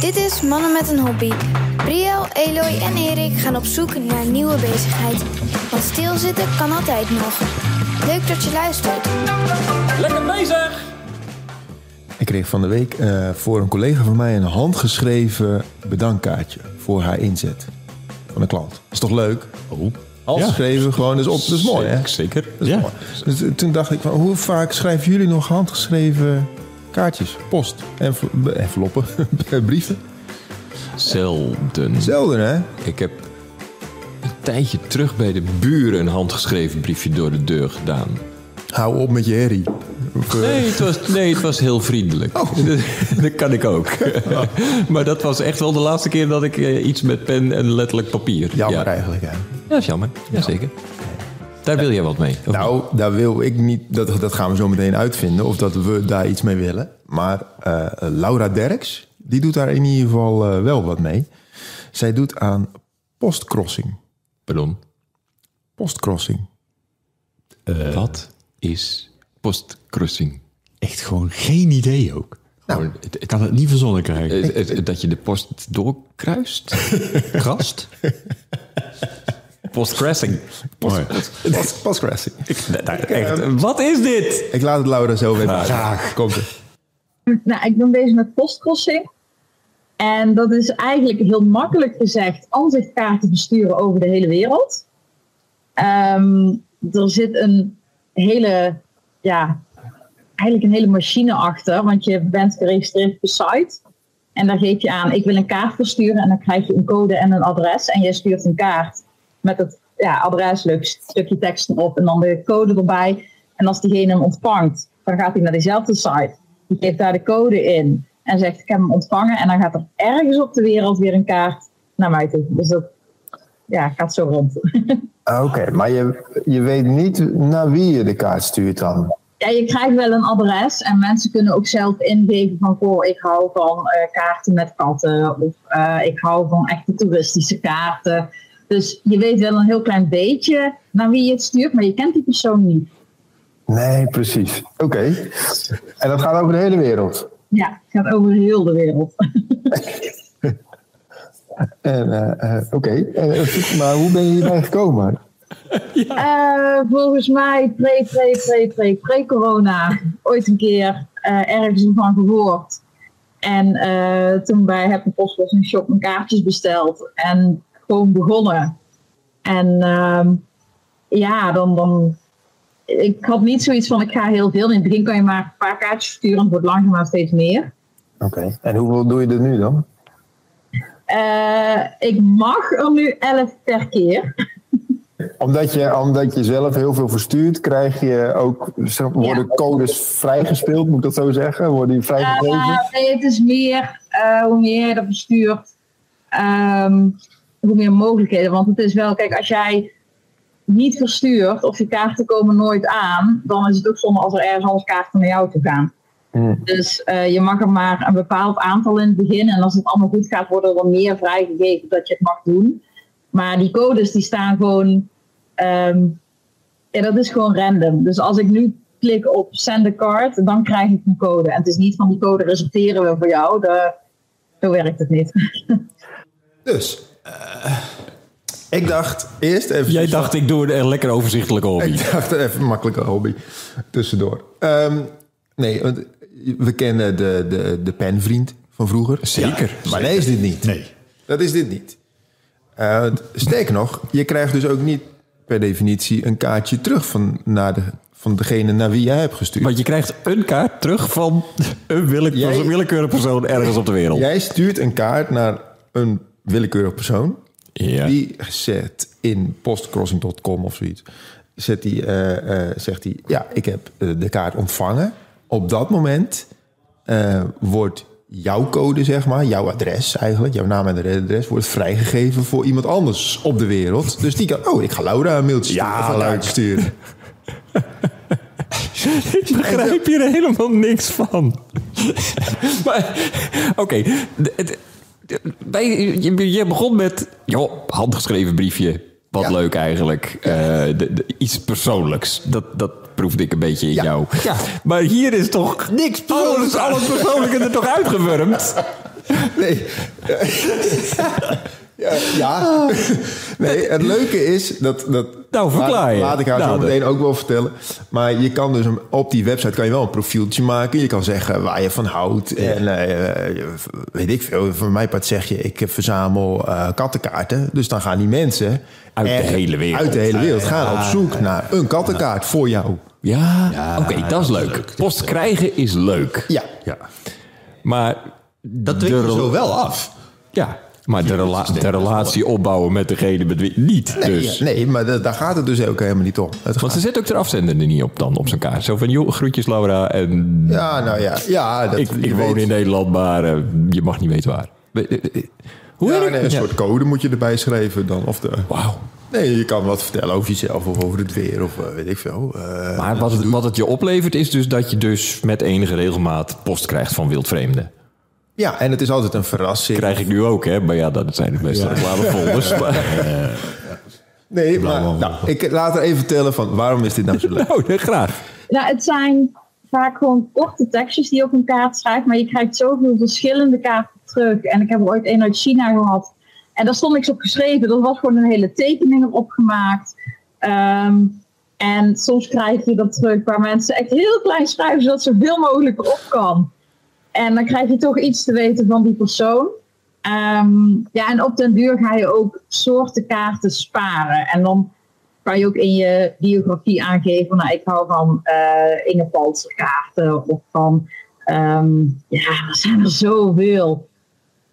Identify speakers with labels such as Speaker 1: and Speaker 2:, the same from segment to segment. Speaker 1: Dit is Mannen met een Hobby. Briel, Eloy en Erik gaan op zoek naar een nieuwe bezigheid. Want stilzitten kan altijd nog. Leuk dat je luistert.
Speaker 2: Lekker bezig!
Speaker 3: Ik kreeg van de week eh, voor een collega van mij een handgeschreven bedankkaartje voor haar inzet van een klant. Is toch leuk?
Speaker 4: Oh.
Speaker 3: Handgeschreven, gewoon, dus op, dat is mooi hè?
Speaker 4: Zeker.
Speaker 3: Dat is
Speaker 4: ja.
Speaker 3: mooi. Dus eh, toen dacht ik van, hoe vaak schrijven jullie nog handgeschreven kaartjes, post, envel- be- enveloppen, brieven?
Speaker 4: Zelden.
Speaker 3: Zelden hè?
Speaker 4: Ik heb een tijdje terug bij de buren een handgeschreven briefje door de deur gedaan.
Speaker 3: Hou op met je herrie. Of, eh,
Speaker 4: Nee, het was, nee, het was heel vriendelijk. Dat,
Speaker 3: Oh.
Speaker 4: dat kan ik ook. maar dat was echt wel de laatste keer dat ik eh, iets met pen en letterlijk papier.
Speaker 3: Jammer
Speaker 4: ja.
Speaker 3: eigenlijk hè?
Speaker 4: Ja, dat is jammer. Jazeker. Daar wil jij wat mee. of niet?
Speaker 3: Nou, daar wil ik niet. Dat, dat gaan we zo meteen uitvinden. Of dat we daar iets mee willen. Maar eh, Laura Derks, die doet daar in ieder geval eh, wel wat mee. Zij doet aan postcrossing.
Speaker 4: Pardon.
Speaker 3: Postcrossing.
Speaker 4: wat is postcrossing?
Speaker 5: Echt gewoon geen idee ook.
Speaker 3: Nou.
Speaker 4: Gewoon, het- het-
Speaker 5: Ik kan het niet verzonnen krijgen.
Speaker 4: het- het- het- dat je de post doorkruist?
Speaker 5: Eh, Krast?
Speaker 4: Postcrossing.
Speaker 3: Post, post- postcrossing. Ik,
Speaker 4: Echt, wat is dit?
Speaker 3: ik laat het Laura zo even Graag. Komt er.
Speaker 6: Nou, ik ben bezig met postcrossing. En dat is eigenlijk heel makkelijk gezegd aanzichtkaarten versturen over de hele wereld. Ehm, er zit een hele, ja, eigenlijk een hele machine achter, want je bent geregistreerd op de site. En daar geef je aan, ik wil een kaart versturen en dan krijg je een code en een adres. En jij stuurt een kaart met het ja, adres, leuk stukje tekst erop en dan de code erbij. En als diegene hem ontvangt, dan gaat hij naar diezelfde site. Die geeft daar de code in en zegt ik heb hem ontvangen. En dan gaat er ergens op de wereld weer een kaart naar mij toe. Dus dat ja, gaat zo rond.
Speaker 7: Ah, Oké, maar je, je weet niet naar wie je de kaart stuurt dan.
Speaker 6: Ja, je krijgt wel een adres en mensen kunnen ook zelf ingeven van goh, ik hou van eh, kaarten met katten of eh, ik hou van echte toeristische kaarten. Dus je weet wel een heel klein beetje naar wie je het stuurt, maar je kent die persoon niet.
Speaker 7: Nee, precies. Oké. En dat gaat over de hele wereld.
Speaker 6: Ja, het gaat over heel de wereld.
Speaker 7: En, eh, eh, Oké, En, eh, maar hoe ben je hierbij gekomen?
Speaker 6: Eh, volgens mij pre, pre, pre, pre, pre-corona ooit een keer eh, ergens van gehoord. En eh, toen bij Happy Postbox Shop mijn kaartjes besteld en gewoon begonnen. En ehm, ja, dan, dan... Ik had niet zoiets van ik ga heel veel. In het begin kan je maar een paar kaartjes sturen, het wordt langzaam steeds meer.
Speaker 7: Oké, en hoeveel doe je er nu dan?
Speaker 6: Eh, ik mag er nu 11 per keer.
Speaker 7: Omdat je, omdat je zelf heel veel verstuurt, krijg je ook, zeg, worden
Speaker 6: Ja.
Speaker 7: codes vrijgespeeld, moet ik dat zo zeggen? Worden die vrijgegeven?
Speaker 6: Eh, nee, het is meer eh, hoe meer je dat bestuurt, ehm, hoe meer mogelijkheden. Want het is wel, kijk, als jij niet verstuurt of je kaarten komen nooit aan, dan is het ook zonde als er ergens anders kaarten naar jou toe gaan.
Speaker 7: Hmm.
Speaker 6: Dus eh, je mag er maar een bepaald aantal in het begin. En als het allemaal goed gaat, worden er meer vrijgegeven dat je het mag doen. Maar die codes die staan gewoon. ehm, ja, dat is gewoon random. Dus als ik nu klik op send a card, dan krijg ik een code. En het is niet van die code reserveren we voor jou. De, zo werkt het niet.
Speaker 3: Dus. eh, ik dacht eerst even.
Speaker 4: Jij dacht, ik doe er lekker overzichtelijk over.
Speaker 3: Ik dacht even een makkelijke hobby tussendoor. Ehm, nee, want we kennen de, de, de penvriend van vroeger.
Speaker 4: Zeker.
Speaker 3: Maar nee, is dit niet.
Speaker 5: Nee.
Speaker 3: Dat is dit niet. Eh sterker nog, je krijgt dus ook niet per definitie een kaartje terug van, naar de, van degene naar wie jij hebt gestuurd.
Speaker 4: Want je krijgt een kaart terug van een, wille-
Speaker 3: Jij-
Speaker 4: van een willekeurig persoon ergens op de wereld.
Speaker 3: Jij stuurt een kaart naar een willekeurig persoon.
Speaker 4: Ja.
Speaker 3: Die zet in postcrossing.com of zoiets. Zet die, eh, eh, zegt hij, ja, ik heb eh, de kaart ontvangen. Op dat moment eh, wordt jouw code, zeg maar, jouw adres eigenlijk, jouw naam en adres, wordt vrijgegeven voor iemand anders op de wereld. Dus die kan, oh, ik ga Laura een mailtje sturen.
Speaker 4: Ja,
Speaker 3: of een
Speaker 4: leuk.
Speaker 3: kaartje sturen.
Speaker 4: Ik begrijp hier helemaal niks van. maar, oké. de- de- de- wij- Je, je begon met, joh, handgeschreven briefje. Wat
Speaker 3: Ja.
Speaker 4: leuk eigenlijk. Eh, de- de- iets persoonlijks. Dat, dat proefde ik een beetje in
Speaker 3: Ja.
Speaker 4: jou.
Speaker 3: Ja.
Speaker 4: Maar hier is toch niks alles, alles persoonlijke er toch uitgewurmd?
Speaker 8: Nee. ja, ja. Nee, het leuke is dat... dat
Speaker 4: Nou, verklaar je.
Speaker 8: Laat, laat ik haar
Speaker 4: Nou,
Speaker 8: zo
Speaker 4: dat-
Speaker 8: meteen ook wel vertellen. Maar je kan dus een- op die website kan je wel een profieltje maken. Je kan zeggen waar je van houdt. En eh, weet ik veel. Voor mijn part zeg je, ik verzamel eh, kattenkaarten. Dus dan gaan die mensen...
Speaker 4: Uit de
Speaker 8: echt
Speaker 4: hele wereld. Ah,
Speaker 8: Uit de hele wereld. Gaan op zoek naar een kattenkaart voor jou.
Speaker 4: Ja, oké, dat is leuk. Post krijgen is leuk.
Speaker 8: Ja.
Speaker 5: Ja.
Speaker 4: Maar
Speaker 5: Dat dwing je zo wel af.
Speaker 4: ja, maar de, rela- de relatie opbouwen met degene met wie niet. Dus.
Speaker 8: Ja, nee, maar da- daar gaat het dus ook helemaal niet om. Het
Speaker 4: Want ze zet ook de afzender er niet op dan, op zijn kaart. Zo van, joh, groetjes Laura en
Speaker 8: Ja, nou ja. ja dat,
Speaker 4: ik,
Speaker 8: je
Speaker 4: ik woon
Speaker 8: weet-
Speaker 4: in Nederland, maar eh, je mag niet weten waar. We- eh, eh, Hoe
Speaker 8: Ja,
Speaker 4: heet
Speaker 8: nee,
Speaker 4: het?
Speaker 8: een
Speaker 4: Ja.
Speaker 8: soort code moet je erbij schrijven dan. Of de,
Speaker 4: Wauw.
Speaker 8: nee, je kan wat vertellen over jezelf of over het weer of eh, weet ik veel. Eh,
Speaker 4: Maar wat het, wat het je oplevert is dus dat je dus met enige regelmaat post krijgt van wildvreemden.
Speaker 8: ja, en het is altijd een verrassing.
Speaker 4: Krijg ik nu ook, hè? Maar ja, dat zijn de meeste reclamefolders. Maar-
Speaker 8: nee, maar nou, ik laat er even vertellen van waarom is dit nou zo leuk.
Speaker 4: Nou, graag.
Speaker 6: Nou, het zijn vaak gewoon korte tekstjes die je op een kaart schrijft, maar je krijgt zoveel verschillende kaarten terug. En ik heb er ooit een uit China gehad. En daar stond niks op geschreven. Er was gewoon een hele tekening erop gemaakt. Ehm, en soms krijg je dat terug waar mensen echt heel klein schrijven, zodat zoveel mogelijk erop kan. En dan krijg je toch iets te weten van die persoon. Ehm, ja, en op den duur ga je ook soorten kaarten sparen. En dan kan je ook in je biografie aangeven, van, nou, ik hou van eh Inge Paltzer kaarten of van, ehm, ja, er zijn er zoveel.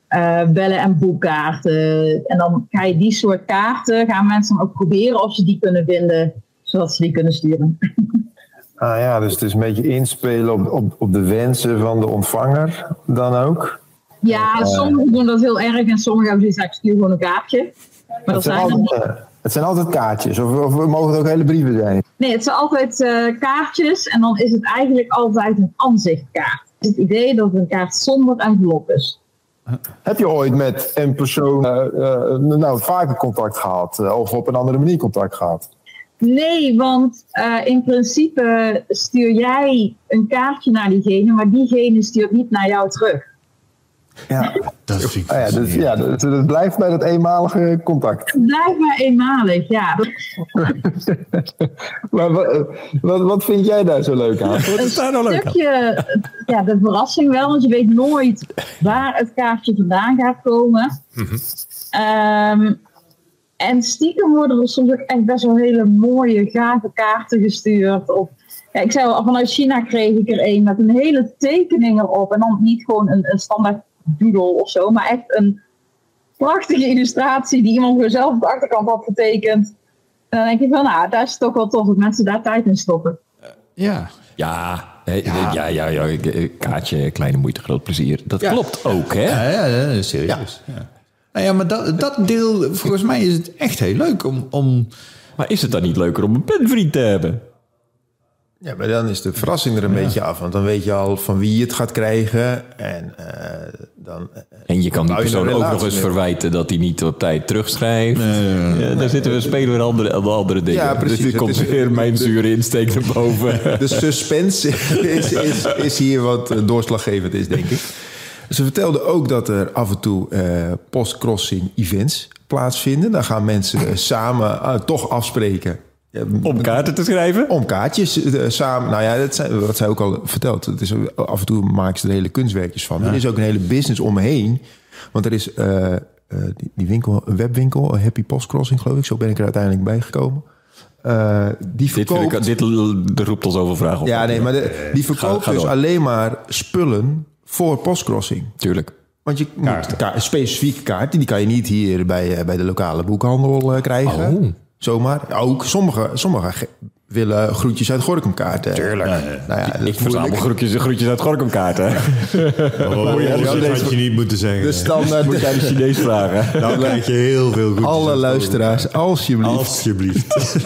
Speaker 6: Eh, bellen en boekkaarten. En dan ga je die soort kaarten, gaan mensen dan ook proberen of ze die kunnen vinden, zodat ze die kunnen sturen.
Speaker 3: Ah ja, dus het is een beetje inspelen op, op, op de wensen van de ontvanger dan ook.
Speaker 6: Ja, sommigen doen dat heel erg en sommigen hebben zoiets, nou, ik stuur gewoon een kaartje. Maar dat
Speaker 3: Het zijn,
Speaker 6: zijn er niet.
Speaker 3: altijd, eh, het zijn altijd kaartjes, of, of we mogen het ook hele brieven zijn.
Speaker 6: Nee, het zijn altijd eh, kaartjes en dan is het eigenlijk altijd een aanzichtkaart. Het is het idee dat een kaart zonder envelop is.
Speaker 3: Heb je ooit met een persoon eh, eh, nou, vaker contact gehad? eh, of op een andere manier contact gehad?
Speaker 6: Nee, want eh, in principe stuur jij een kaartje naar diegene, maar diegene stuurt niet naar jou terug.
Speaker 3: Ja,
Speaker 5: Dat vind ik
Speaker 3: ah, ja, dus, ja dus, het blijft bij dat eenmalige contact.
Speaker 6: Het Blijft maar eenmalig, ja.
Speaker 3: Maar wat, wat, wat vind jij daar zo leuk aan?
Speaker 4: Wat is daar nou
Speaker 6: Een
Speaker 4: leuk aan?
Speaker 6: stukje, eh, ja, de verrassing wel, want je weet nooit waar het kaartje vandaan gaat komen. Ehm, en stiekem worden er soms ook echt best wel hele mooie, gave kaarten gestuurd. Of, ja, ik zei al, vanuit China kreeg ik er een met een hele tekening erop. En dan niet gewoon een, een standaard doodle of zo, maar echt een prachtige illustratie die iemand voor zelf op de achterkant had getekend. En dan denk ik van, nou, daar is het toch wel tof dat mensen daar tijd in stoppen.
Speaker 5: Ja.
Speaker 4: Ja, hè, ja, ja, ja, ik- eh, Kaartje, kleine moeite, groot plezier. Dat klopt ook, hè?
Speaker 5: Ja, ja, ja, serieus. Ja. Nou ja, maar dat, dat deel, volgens mij is het echt heel leuk om... om
Speaker 4: Maar is het dan niet leuker om een penvriend te hebben?
Speaker 8: Ja, maar dan is de verrassing er een beetje af. Want dan weet je al van wie je het gaat krijgen. En eh, dan... eh,
Speaker 4: En je kan die
Speaker 8: Nou,
Speaker 4: persoon
Speaker 8: je hebt een
Speaker 4: ook nog
Speaker 8: relatie
Speaker 4: eens
Speaker 8: mee.
Speaker 4: verwijten dat hij niet op tijd terugschrijft. Ja, daar zitten we spelen we andere, andere dingen.
Speaker 8: Ja, precies.
Speaker 4: Dus
Speaker 8: Het
Speaker 4: er komt
Speaker 8: is-
Speaker 4: weer mijn zure insteek naar boven.
Speaker 8: De suspense is, is, is hier wat eh, doorslaggevend is, denk ik. Ze vertelde ook dat er af en toe eh postcrossing events plaatsvinden. Dan gaan mensen eh, samen ah, toch afspreken. eh,
Speaker 4: Om kaarten te schrijven?
Speaker 8: om kaartjes eh, samen. Nou ja, dat zijn, wat zij ook al vertelt. Het is, af en toe maken ze er hele kunstwerkjes van. Er is ook een hele business omheen. Want er is eh, eh, die, die winkel, een webwinkel, Happy Post Crossing, geloof ik. Zo ben ik er uiteindelijk bij gekomen. Eh, die
Speaker 4: Dit,
Speaker 8: verkoopt...
Speaker 4: vind ik, dit l- roept al zoveel vragen op.
Speaker 8: Ja, nee, maar de- die verkoopt
Speaker 4: ga
Speaker 8: dus
Speaker 4: door.
Speaker 8: alleen maar spullen voor postcrossing.
Speaker 4: Tuurlijk.
Speaker 8: Want je moet ka- specifieke kaarten, die kan je niet hier bij, eh, bij de lokale boekhandel eh, krijgen.
Speaker 4: Oh.
Speaker 8: Zomaar. Ook sommigen sommige ge- willen groetjes uit Gorkum kaarten. Tuurlijk. Nou ja, dat
Speaker 4: Ik verzamel groetjes, groetjes uit Gorkumkaarten.
Speaker 5: Oh, ja,
Speaker 8: dat
Speaker 5: dat had je niet moeten zeggen.
Speaker 8: Dus dan eh,
Speaker 4: Moet jij de Chinees vragen?
Speaker 5: nou krijg je heel veel goed.
Speaker 8: alle luisteraars, alsjeblieft.
Speaker 5: Alsjeblieft.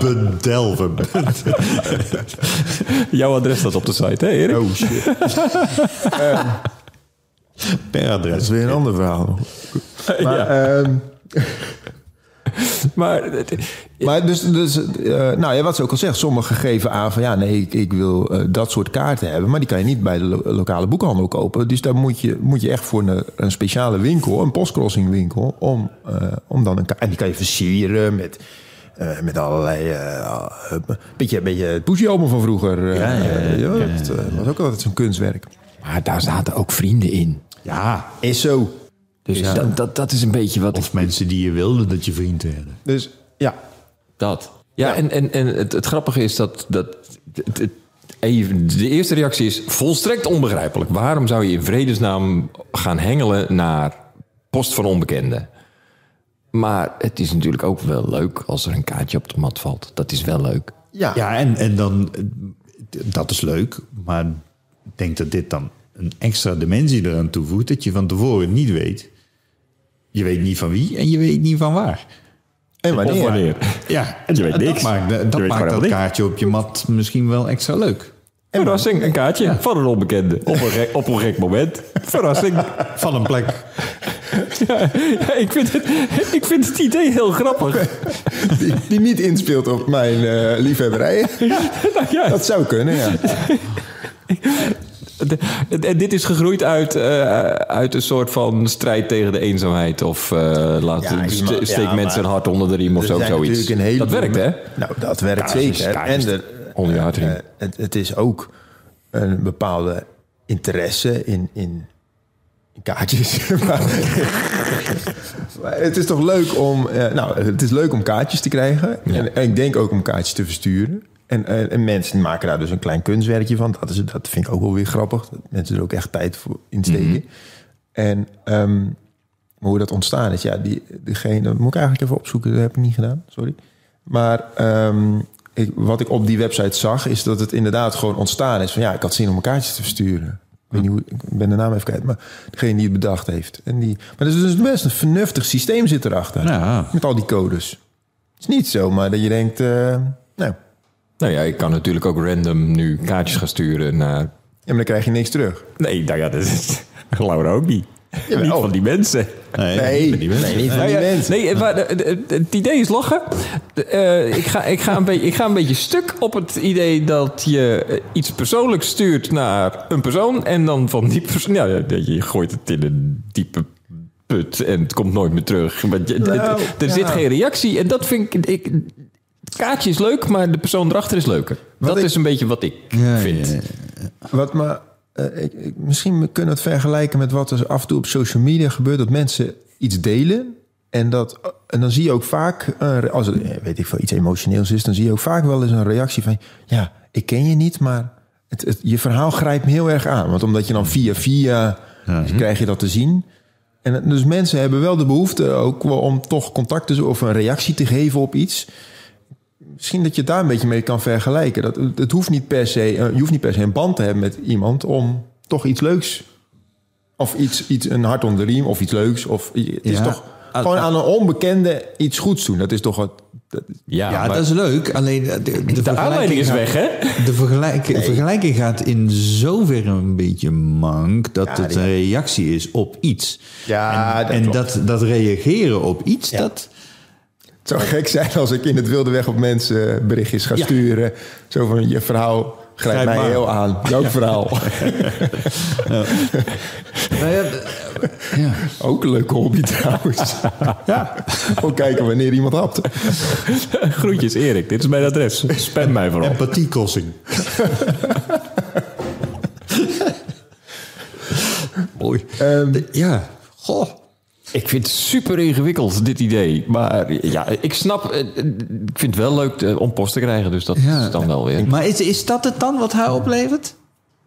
Speaker 5: Bedelven.
Speaker 4: Jouw adres staat op de site, hè Erik?
Speaker 8: Oh shit. Dat
Speaker 5: Per
Speaker 8: is
Speaker 5: adres.
Speaker 8: weer een ander verhaal. Maar, ehm,
Speaker 4: Maar het-
Speaker 8: Maar dus, dus eh, nou ja, wat ze ook al zegt, sommigen geven aan van ja, nee, ik, ik wil eh, dat soort kaarten hebben, maar die kan je niet bij de lo- lokale boekhandel kopen. Dus daar moet je, moet je echt voor een, een speciale winkel, een postcrossing winkel, om, eh, om dan een kaart. En die kan je versieren met, eh, met allerlei. eh een beetje, een beetje het poesjeomen van vroeger. eh, eh, ja, dat eh, was ook altijd zo'n kunstwerk.
Speaker 4: Maar daar zaten ook vrienden in.
Speaker 5: Ja,
Speaker 8: Is zo.
Speaker 4: Dus dat, dat, dat is een beetje wat ik...
Speaker 5: of mensen die je wilden dat je vriend werden.
Speaker 8: Dus ja,
Speaker 4: Dat. Ja, en, en, en het, het grappige is dat... dat het- het- even, de eerste reactie is volstrekt onbegrijpelijk. Waarom zou je in vredesnaam gaan hengelen naar post van onbekenden? Maar het is natuurlijk ook wel leuk als er een kaartje op de mat valt. Dat is wel leuk.
Speaker 8: ja.
Speaker 5: Ja, en, en dan, eh, dat is leuk, maar ik denk dat dit dan een extra dimensie eraan toevoegt, dat je van tevoren niet weet. Je weet niet van wie en je weet niet van waar.
Speaker 8: En wanneer?
Speaker 5: Ja, en,
Speaker 4: weet
Speaker 5: en
Speaker 4: niks.
Speaker 5: dat maakt, dat
Speaker 4: Je weet gewoon
Speaker 5: maakt dat
Speaker 4: helemaal
Speaker 5: kaartje op je mat misschien wel extra leuk.
Speaker 4: Verrassing, een kaartje van een onbekende. Op een, gek, op een gek moment. Verrassing.
Speaker 5: Van een plek.
Speaker 4: Ja, ja, ik, vind het, ik vind het idee heel grappig.
Speaker 8: Die, die niet inspeelt op mijn eh, liefhebberijen.
Speaker 4: Nou ja,
Speaker 8: Dat zou kunnen, ja.
Speaker 4: De- en- en dit is gegroeid uit, eh, uit een soort van strijd tegen de eenzaamheid. Of eh, laat,
Speaker 8: Ja,
Speaker 4: ste-
Speaker 8: iemand-
Speaker 4: steek
Speaker 8: ja,
Speaker 4: mensen
Speaker 8: maar-
Speaker 4: een hart onder de riem of
Speaker 8: Er
Speaker 4: zo,
Speaker 8: zijn
Speaker 4: zoiets.
Speaker 8: natuurlijk een heleboel
Speaker 4: dat werkt, hè?
Speaker 8: mensen- Nou, dat werkt
Speaker 4: Kaartjes,
Speaker 8: zeker.
Speaker 4: kaartjes
Speaker 8: en er,
Speaker 4: onder je hart
Speaker 8: eh,
Speaker 4: riem.
Speaker 8: eh, het, het is ook een bepaalde interesse in, in in kaartjes. maar, maar het is toch leuk om, eh, nou, het is leuk om kaartjes te krijgen. En, en ik denk ook om kaartjes te versturen. En, en, en mensen maken daar dus een klein kunstwerkje van. Dat, is, dat vind ik ook wel weer grappig. Dat mensen er ook echt tijd voor insteken. En ehm, maar hoe dat ontstaan is, ja, die, diegene, dat moet ik eigenlijk even opzoeken. Dat heb ik niet gedaan, sorry. Maar ehm, ik, wat ik op die website zag, is dat het inderdaad gewoon ontstaan is van ja, ik had zin om een kaartje te versturen. Ik, weet niet hoe, ik ben de naam even kwijt, maar degene die het bedacht heeft. En die, maar dat is dus best een vernuftig systeem zit erachter.
Speaker 5: Ja.
Speaker 8: Met al die codes. Het is niet zo, maar dat je denkt, eh, nou,
Speaker 4: Nou ja, ik kan natuurlijk ook random nu kaartjes gaan sturen naar...
Speaker 8: ja, maar dan krijg je niks terug.
Speaker 4: Nee, nou ja, dat is Laura ook niet.
Speaker 8: Jawel.
Speaker 4: niet van die mensen.
Speaker 5: Nee,
Speaker 8: Nee,
Speaker 5: ik ben niet
Speaker 8: nee, niet van
Speaker 4: Nou
Speaker 8: die
Speaker 4: ja,
Speaker 8: mensen.
Speaker 4: nee, maar de- de- de- het idee is lachen. De, eh, ik, ga, ik, ga een beetje, ik ga een beetje stuk op het idee dat je eh, iets persoonlijks stuurt naar een persoon. En dan van die persoon. Ja, ja, je gooit het in een diepe put en het komt nooit meer terug. Want je-
Speaker 8: Nou,
Speaker 4: het- er
Speaker 8: ja.
Speaker 4: zit geen reactie. En dat vind ik. ik het kaartje is leuk, maar de persoon erachter is leuker. dat
Speaker 8: ik-
Speaker 4: is een beetje wat ik vind.
Speaker 8: Wat maar, eh, ik, ik- misschien kunnen we het vergelijken met wat er af en toe op social media gebeurt. Dat mensen iets delen. En, dat, en dan zie je ook vaak, eh, als er, eh, weet ik veel, iets emotioneels is, dan zie je ook vaak wel eens een reactie van, ja, ik ken je niet, maar het, het- je verhaal grijpt me heel erg aan. Want omdat je dan via via, dus krijg je dat te zien. En het- dus mensen hebben wel de behoefte ook wel om toch contact te zoeken of een reactie te geven op iets misschien dat je het daar een beetje mee kan vergelijken. Dat, het hoeft niet per se, eh, je hoeft niet per se een band te hebben met iemand om toch iets leuks. Of iets, iets een hart onder de riem of iets leuks. Of, het is
Speaker 5: Ja.
Speaker 8: toch gewoon
Speaker 3: Ah,
Speaker 8: aan een onbekende iets goeds doen. Dat is toch wat. dat is-
Speaker 4: Ja,
Speaker 5: Ja,
Speaker 4: maar
Speaker 5: dat is leuk. Alleen eh, de, de, vergelijking
Speaker 4: aanleiding is
Speaker 5: gaat-
Speaker 4: weg, hè?
Speaker 5: De vergelijk, vergelijking gaat in zoverre een beetje mank dat het
Speaker 8: die-
Speaker 5: een reactie is op iets.
Speaker 8: Ja,
Speaker 5: en
Speaker 8: dat
Speaker 5: dat, en
Speaker 8: klopt.
Speaker 5: dat, dat reageren op iets, dat,
Speaker 8: het zou gek zijn als ik in het wilde weg op mensen eh, berichtjes ga sturen. Zo van je verhaal grijpt
Speaker 5: Grijp
Speaker 8: mij
Speaker 5: maar.
Speaker 8: heel aan. Welk verhaal? Ook een leuke hobby trouwens. ja. Gewoon kijken wanneer iemand hapt.
Speaker 4: groetjes Erik, dit is mijn adres. Spam mij vooral.
Speaker 5: empathiekossing. Mooi.
Speaker 8: Ehm,
Speaker 5: De- ja, goh.
Speaker 4: Ik vind het super ingewikkeld, dit idee. Maar ja, ik snap... eh, eh, Ik vind het wel leuk eh, om post te krijgen, dus dat
Speaker 5: Ja.
Speaker 4: is dan wel weer...
Speaker 5: Maar is, is dat het dan wat hij oplevert?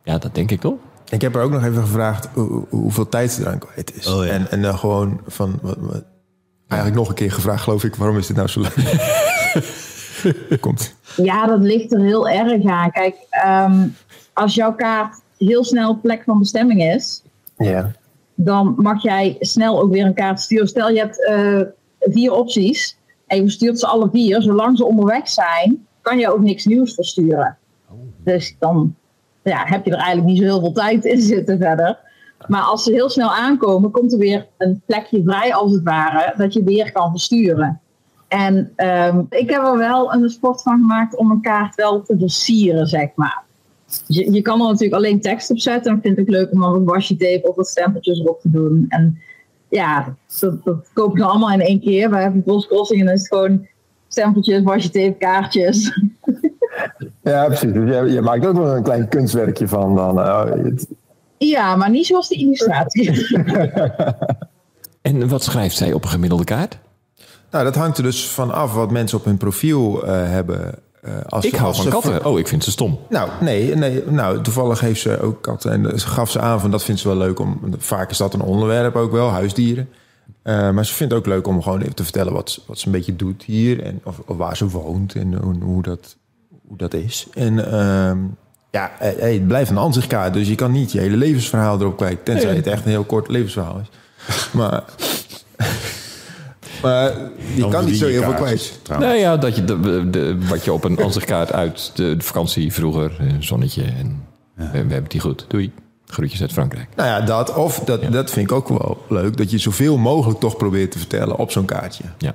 Speaker 4: Ja, dat denk ik toch?
Speaker 8: Ik heb haar ook nog even gevraagd hoe- hoeveel tijd ze eraan kwijt is.
Speaker 5: Oh, ja.
Speaker 8: En, en dan gewoon van... Wat, wat- eigenlijk nog een keer gevraagd, geloof ik, waarom is dit nou zo leuk? Komt.
Speaker 6: Ja, dat ligt er heel erg aan. Kijk, ehm, als jouw kaart heel snel plek van bestemming is,
Speaker 3: Ja.
Speaker 6: dan mag jij snel ook weer een kaart sturen. Stel, je hebt eh, vier opties en je verstuurt ze alle vier. Zolang ze onderweg zijn, kan je ook niks nieuws versturen. Dus dan ja, heb je er eigenlijk niet zo heel veel tijd in zitten verder. Maar als ze heel snel aankomen, komt er weer een plekje vrij als het ware, dat je weer kan versturen. En ehm, ik heb er wel een sport van gemaakt om een kaart wel te versieren, zeg maar. Je, je kan er natuurlijk alleen tekst op zetten. En ik vind het ook leuk om dan wat washi tape of wat stempeltjes erop te doen. En ja, dat, dat koop ik dan allemaal in één keer. Bij Bos Crossing en dan is het gewoon stempeltjes, washi tape, kaartjes.
Speaker 3: Ja, precies. Dus jij, jij maakt ook wel een klein kunstwerkje van dan. eh, het-
Speaker 6: Ja, maar niet zoals de illustratie.
Speaker 4: En wat schrijft zij op een gemiddelde kaart?
Speaker 8: Nou, dat hangt er dus van af wat mensen op hun profiel eh, hebben. eh, als
Speaker 4: Ik hou
Speaker 8: als
Speaker 4: van
Speaker 8: ze
Speaker 4: katten. Oh, ik vind ze stom.
Speaker 8: Nou, nee, nee. Nou, toevallig heeft ze ook katten. En eh, ze gaf ze aan van dat vindt ze wel leuk om. Vaak is dat een onderwerp ook wel, huisdieren. Eh, maar ze vindt het ook leuk om gewoon even te vertellen wat, ze- wat ze een beetje doet hier. En of, of waar ze woont en hoe, hoe dat, hoe dat is. En ehm, ja, eh, hey, het blijft een aanzichtkaart. Dus je kan niet je hele levensverhaal erop kijken. Tenzij het echt een heel kort levensverhaal is. Maar, maar je
Speaker 5: Dan
Speaker 8: kan niet
Speaker 5: verdien
Speaker 8: zo
Speaker 5: je
Speaker 8: heel
Speaker 5: kaart,
Speaker 8: veel kwijt.
Speaker 5: trouwens.
Speaker 4: Nou ja, dat je de, de- wat je op een ansichtkaart uit de, de vakantie vroeger, een zonnetje en we, we hebben die goed. Doei. Groetjes uit Frankrijk.
Speaker 8: Nou ja, dat, of dat, dat vind ik ook wel leuk. Dat je zoveel mogelijk toch probeert te vertellen op zo'n kaartje.
Speaker 4: Ja,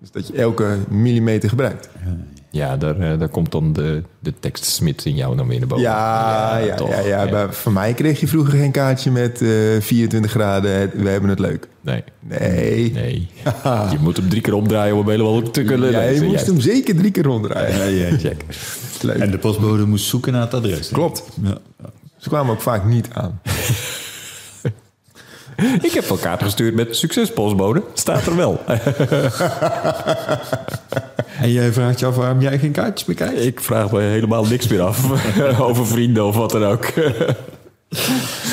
Speaker 8: Dus dat je elke millimeter gebruikt.
Speaker 4: Oh, ja daar, eh, daar komt dan de, de tekstsmid in jou dan weer naar boven.
Speaker 8: Ja, ja, ja.
Speaker 4: toch.
Speaker 8: ja, Bij- Van mij kreeg je vroeger geen kaartje met eh, 24 graden. Het- We hebben het leuk.
Speaker 4: Nee,
Speaker 8: Nee.
Speaker 4: nee. Je moet hem drie keer omdraaien om helemaal te kunnen
Speaker 8: Jij
Speaker 4: lezen.
Speaker 8: moest
Speaker 4: Juist.
Speaker 8: hem zeker drie keer ronddraaien.
Speaker 5: Ja, ja, ja.
Speaker 4: Check.
Speaker 8: Leuk.
Speaker 5: En de postbode moest zoeken naar het adres. hè?
Speaker 8: Klopt.
Speaker 5: Ja.
Speaker 8: Ze kwamen ook vaak niet aan.
Speaker 4: Ik heb wel kaarten gestuurd met succes postbode. Staat er wel.
Speaker 5: En jij vraagt je af waarom jij geen kaartjes meer krijgt?
Speaker 4: Ik vraag me helemaal niks meer af over vrienden of wat dan ook.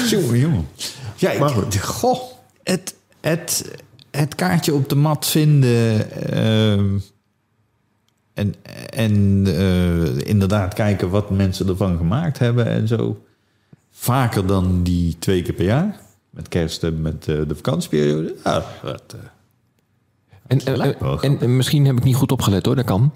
Speaker 5: Jongen, jongen. Ja, ik,
Speaker 8: Maar goed.
Speaker 5: goh, het, het, het kaartje op de mat vinden ehm, en, en eh, inderdaad kijken wat mensen ervan gemaakt hebben en zo. Vaker dan die twee keer per jaar. Met kerst en met eh, de vakantieperiode. Ja, dat, eh,
Speaker 4: En, eh,
Speaker 5: lijkt me wel
Speaker 4: eh, en, eh, misschien heb ik niet goed opgelet hoor, dat kan.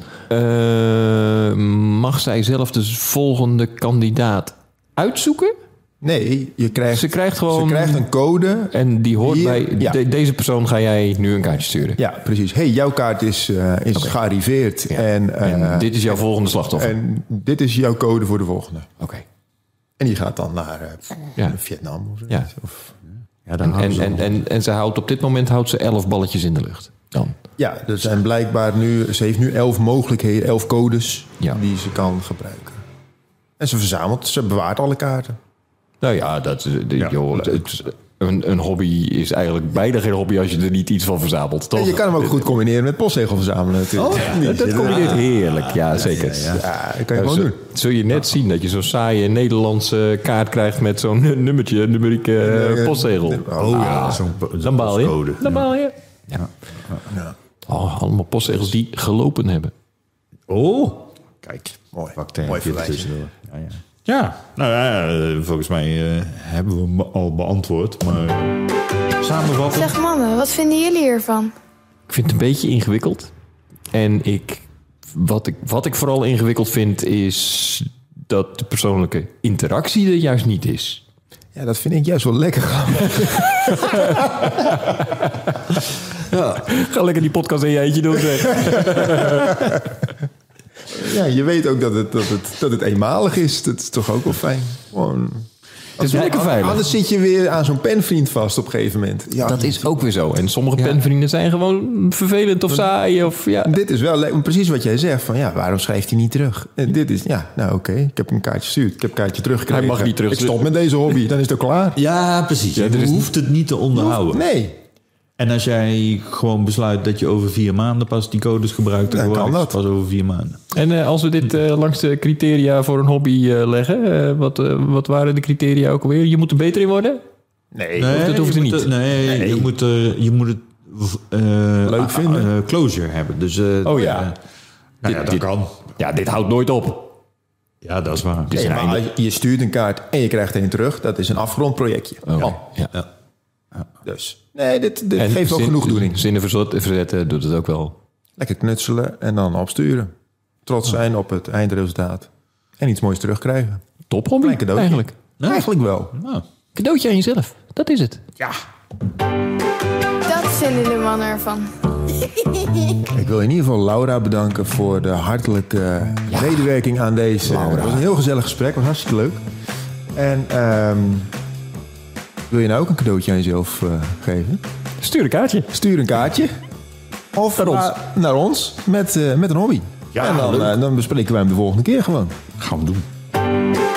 Speaker 4: Eh, mag zij zelf de volgende kandidaat uitzoeken?
Speaker 8: Nee, je krijgt,
Speaker 4: Ze krijgt gewoon-
Speaker 8: ze krijgt een code.
Speaker 4: En die hoort
Speaker 8: Hier,
Speaker 4: bij
Speaker 8: ja.
Speaker 4: de- deze persoon ga jij nu een kaartje sturen.
Speaker 8: Ja, precies. hey, jouw kaart is, eh, is gearriveerd.
Speaker 4: Ja.
Speaker 8: En, eh,
Speaker 4: En dit is jouw volgende slachtoffer.
Speaker 8: en dit is jouw code voor de volgende.
Speaker 4: Oké.
Speaker 8: En die gaat dan naar eh,
Speaker 4: Ja.
Speaker 8: Vietnam of zo.
Speaker 4: Ja.
Speaker 8: Of,
Speaker 5: ja, dan
Speaker 4: En,
Speaker 5: houden
Speaker 4: en,
Speaker 5: ze
Speaker 4: en,
Speaker 5: allemaal.
Speaker 4: en, en ze houdt op dit moment houdt ze elf balletjes in de lucht. Dan.
Speaker 8: ja, er zijn blijkbaar nu, ze heeft nu elf mogelijkheden, elf codes
Speaker 4: Ja.
Speaker 8: die ze kan gebruiken. En ze verzamelt, ze bewaart alle kaarten.
Speaker 4: Nou ja, dat, is- de, joh, het- een, een hobby is eigenlijk bijna geen hobby als je er niet iets van verzamelt, toch?
Speaker 8: En je kan hem ook goed combineren met postzegel verzamelen natuurlijk. Die
Speaker 4: dat,
Speaker 8: zitten-
Speaker 4: combineert heerlijk, ja, zeker.
Speaker 8: Ja, dat kan je
Speaker 4: Ja,
Speaker 8: gewoon
Speaker 4: zul-
Speaker 8: doen.
Speaker 4: Zul je net zien dat je zo'n saaie Nederlandse kaart krijgt met zo'n nummertje, numerieke eh,
Speaker 8: eh,
Speaker 4: postzegel. Ah,
Speaker 5: Oh ja, zo'n po- zo'n
Speaker 4: Dan baal je.
Speaker 5: postcode.
Speaker 4: Dan baal je. Ja. Oh, allemaal postzegels die gelopen hebben.
Speaker 5: Oh, kijk.
Speaker 8: Mooi.
Speaker 5: Bakterien
Speaker 8: Mooi
Speaker 5: viel
Speaker 8: verwijzing.
Speaker 5: tussendoor. Ja, ja. ja, nou ja, eh, volgens mij eh, hebben we hem al beantwoord. Maar samenvatten.
Speaker 1: Zeg mannen, wat vinden jullie hiervan?
Speaker 4: Ik vind het een beetje ingewikkeld. En ik, wat, ik, wat ik vooral ingewikkeld vind is dat de persoonlijke interactie er juist niet is.
Speaker 8: Ja, dat vind ik juist wel lekker.
Speaker 4: Ga lekker die podcast in je eentje doen. zeg.
Speaker 8: Ja, je weet ook dat het, dat het, dat het eenmalig is. Dat is toch ook wel fijn. Gewoon...
Speaker 4: Het is lekker veilig.
Speaker 8: Anders zit je weer aan zo'n penvriend vast op een gegeven moment. Ja,
Speaker 4: Dat is ook weer zo. En sommige penvrienden zijn gewoon vervelend of saai. Of, ja.
Speaker 8: Dit is wel le- precies wat jij zegt. Van ja, waarom schrijft hij niet terug? En dit is, ja, nou oké. Ik heb een kaartje gestuurd. Ik heb een kaartje teruggekregen.
Speaker 4: Hij mag niet terug-
Speaker 8: Ik stop met deze hobby. Dan is het ook klaar.
Speaker 5: Ja, precies. je
Speaker 4: er is-
Speaker 5: hoeft het niet te onderhouden.
Speaker 8: Nee.
Speaker 5: En als jij gewoon besluit dat je over vier maanden pas die codes gebruikt, dan,
Speaker 8: Dan kan
Speaker 5: gebruik je
Speaker 8: dat.
Speaker 5: ze pas over vier maanden.
Speaker 4: En eh, als we dit eh, langs de criteria voor een hobby eh, leggen, eh, wat, eh, wat waren de criteria ook alweer? Je moet er beter in worden?
Speaker 8: Nee.
Speaker 5: Nee,
Speaker 4: dat
Speaker 5: je
Speaker 4: hoeft er
Speaker 5: moet
Speaker 4: niet.
Speaker 5: er- nee, Je, moet er, je moet het eh,
Speaker 8: Leuk vinden.
Speaker 5: eh, closure hebben. Dus, eh,
Speaker 4: Oh ja.
Speaker 5: eh, nou ja, dat
Speaker 4: dit-
Speaker 5: kan.
Speaker 4: Ja, dit houdt nooit op.
Speaker 5: Ja, dat is waar.
Speaker 4: is
Speaker 8: Nee, maar als je je stuurt een kaart en je krijgt een terug. Dat is een afgerond projectje. Oh,
Speaker 4: ja.
Speaker 8: dus. Nee, dit, dit
Speaker 4: En
Speaker 8: geeft wel
Speaker 4: zin-
Speaker 8: genoegdoening.
Speaker 4: Zinnen verzet- verzetten doet het ook wel.
Speaker 8: Lekker knutselen en dan opsturen. Trots
Speaker 4: Oh.
Speaker 8: zijn op het eindresultaat. En iets moois terugkrijgen.
Speaker 4: Top hobby,
Speaker 8: Klein cadeautje.
Speaker 4: eigenlijk.
Speaker 8: Eigenlijk wel.
Speaker 5: Nou,
Speaker 4: Cadeautje aan jezelf, dat is het.
Speaker 1: Dat vinden de mannen ervan.
Speaker 8: Ik wil in ieder geval Laura bedanken voor de hartelijke medewerking aan deze. Het was een heel gezellig gesprek, het was hartstikke leuk. En ehm, wil je nou ook een cadeautje aan jezelf eh, geven?
Speaker 4: Stuur een kaartje.
Speaker 8: Stuur een kaartje. Of naar
Speaker 4: ons.
Speaker 8: naar ons met, eh, met een hobby.
Speaker 5: Ja,
Speaker 8: en dan,
Speaker 5: leuk.
Speaker 8: eh, dan bespreken wij hem de volgende keer gewoon.
Speaker 5: Gaan we doen.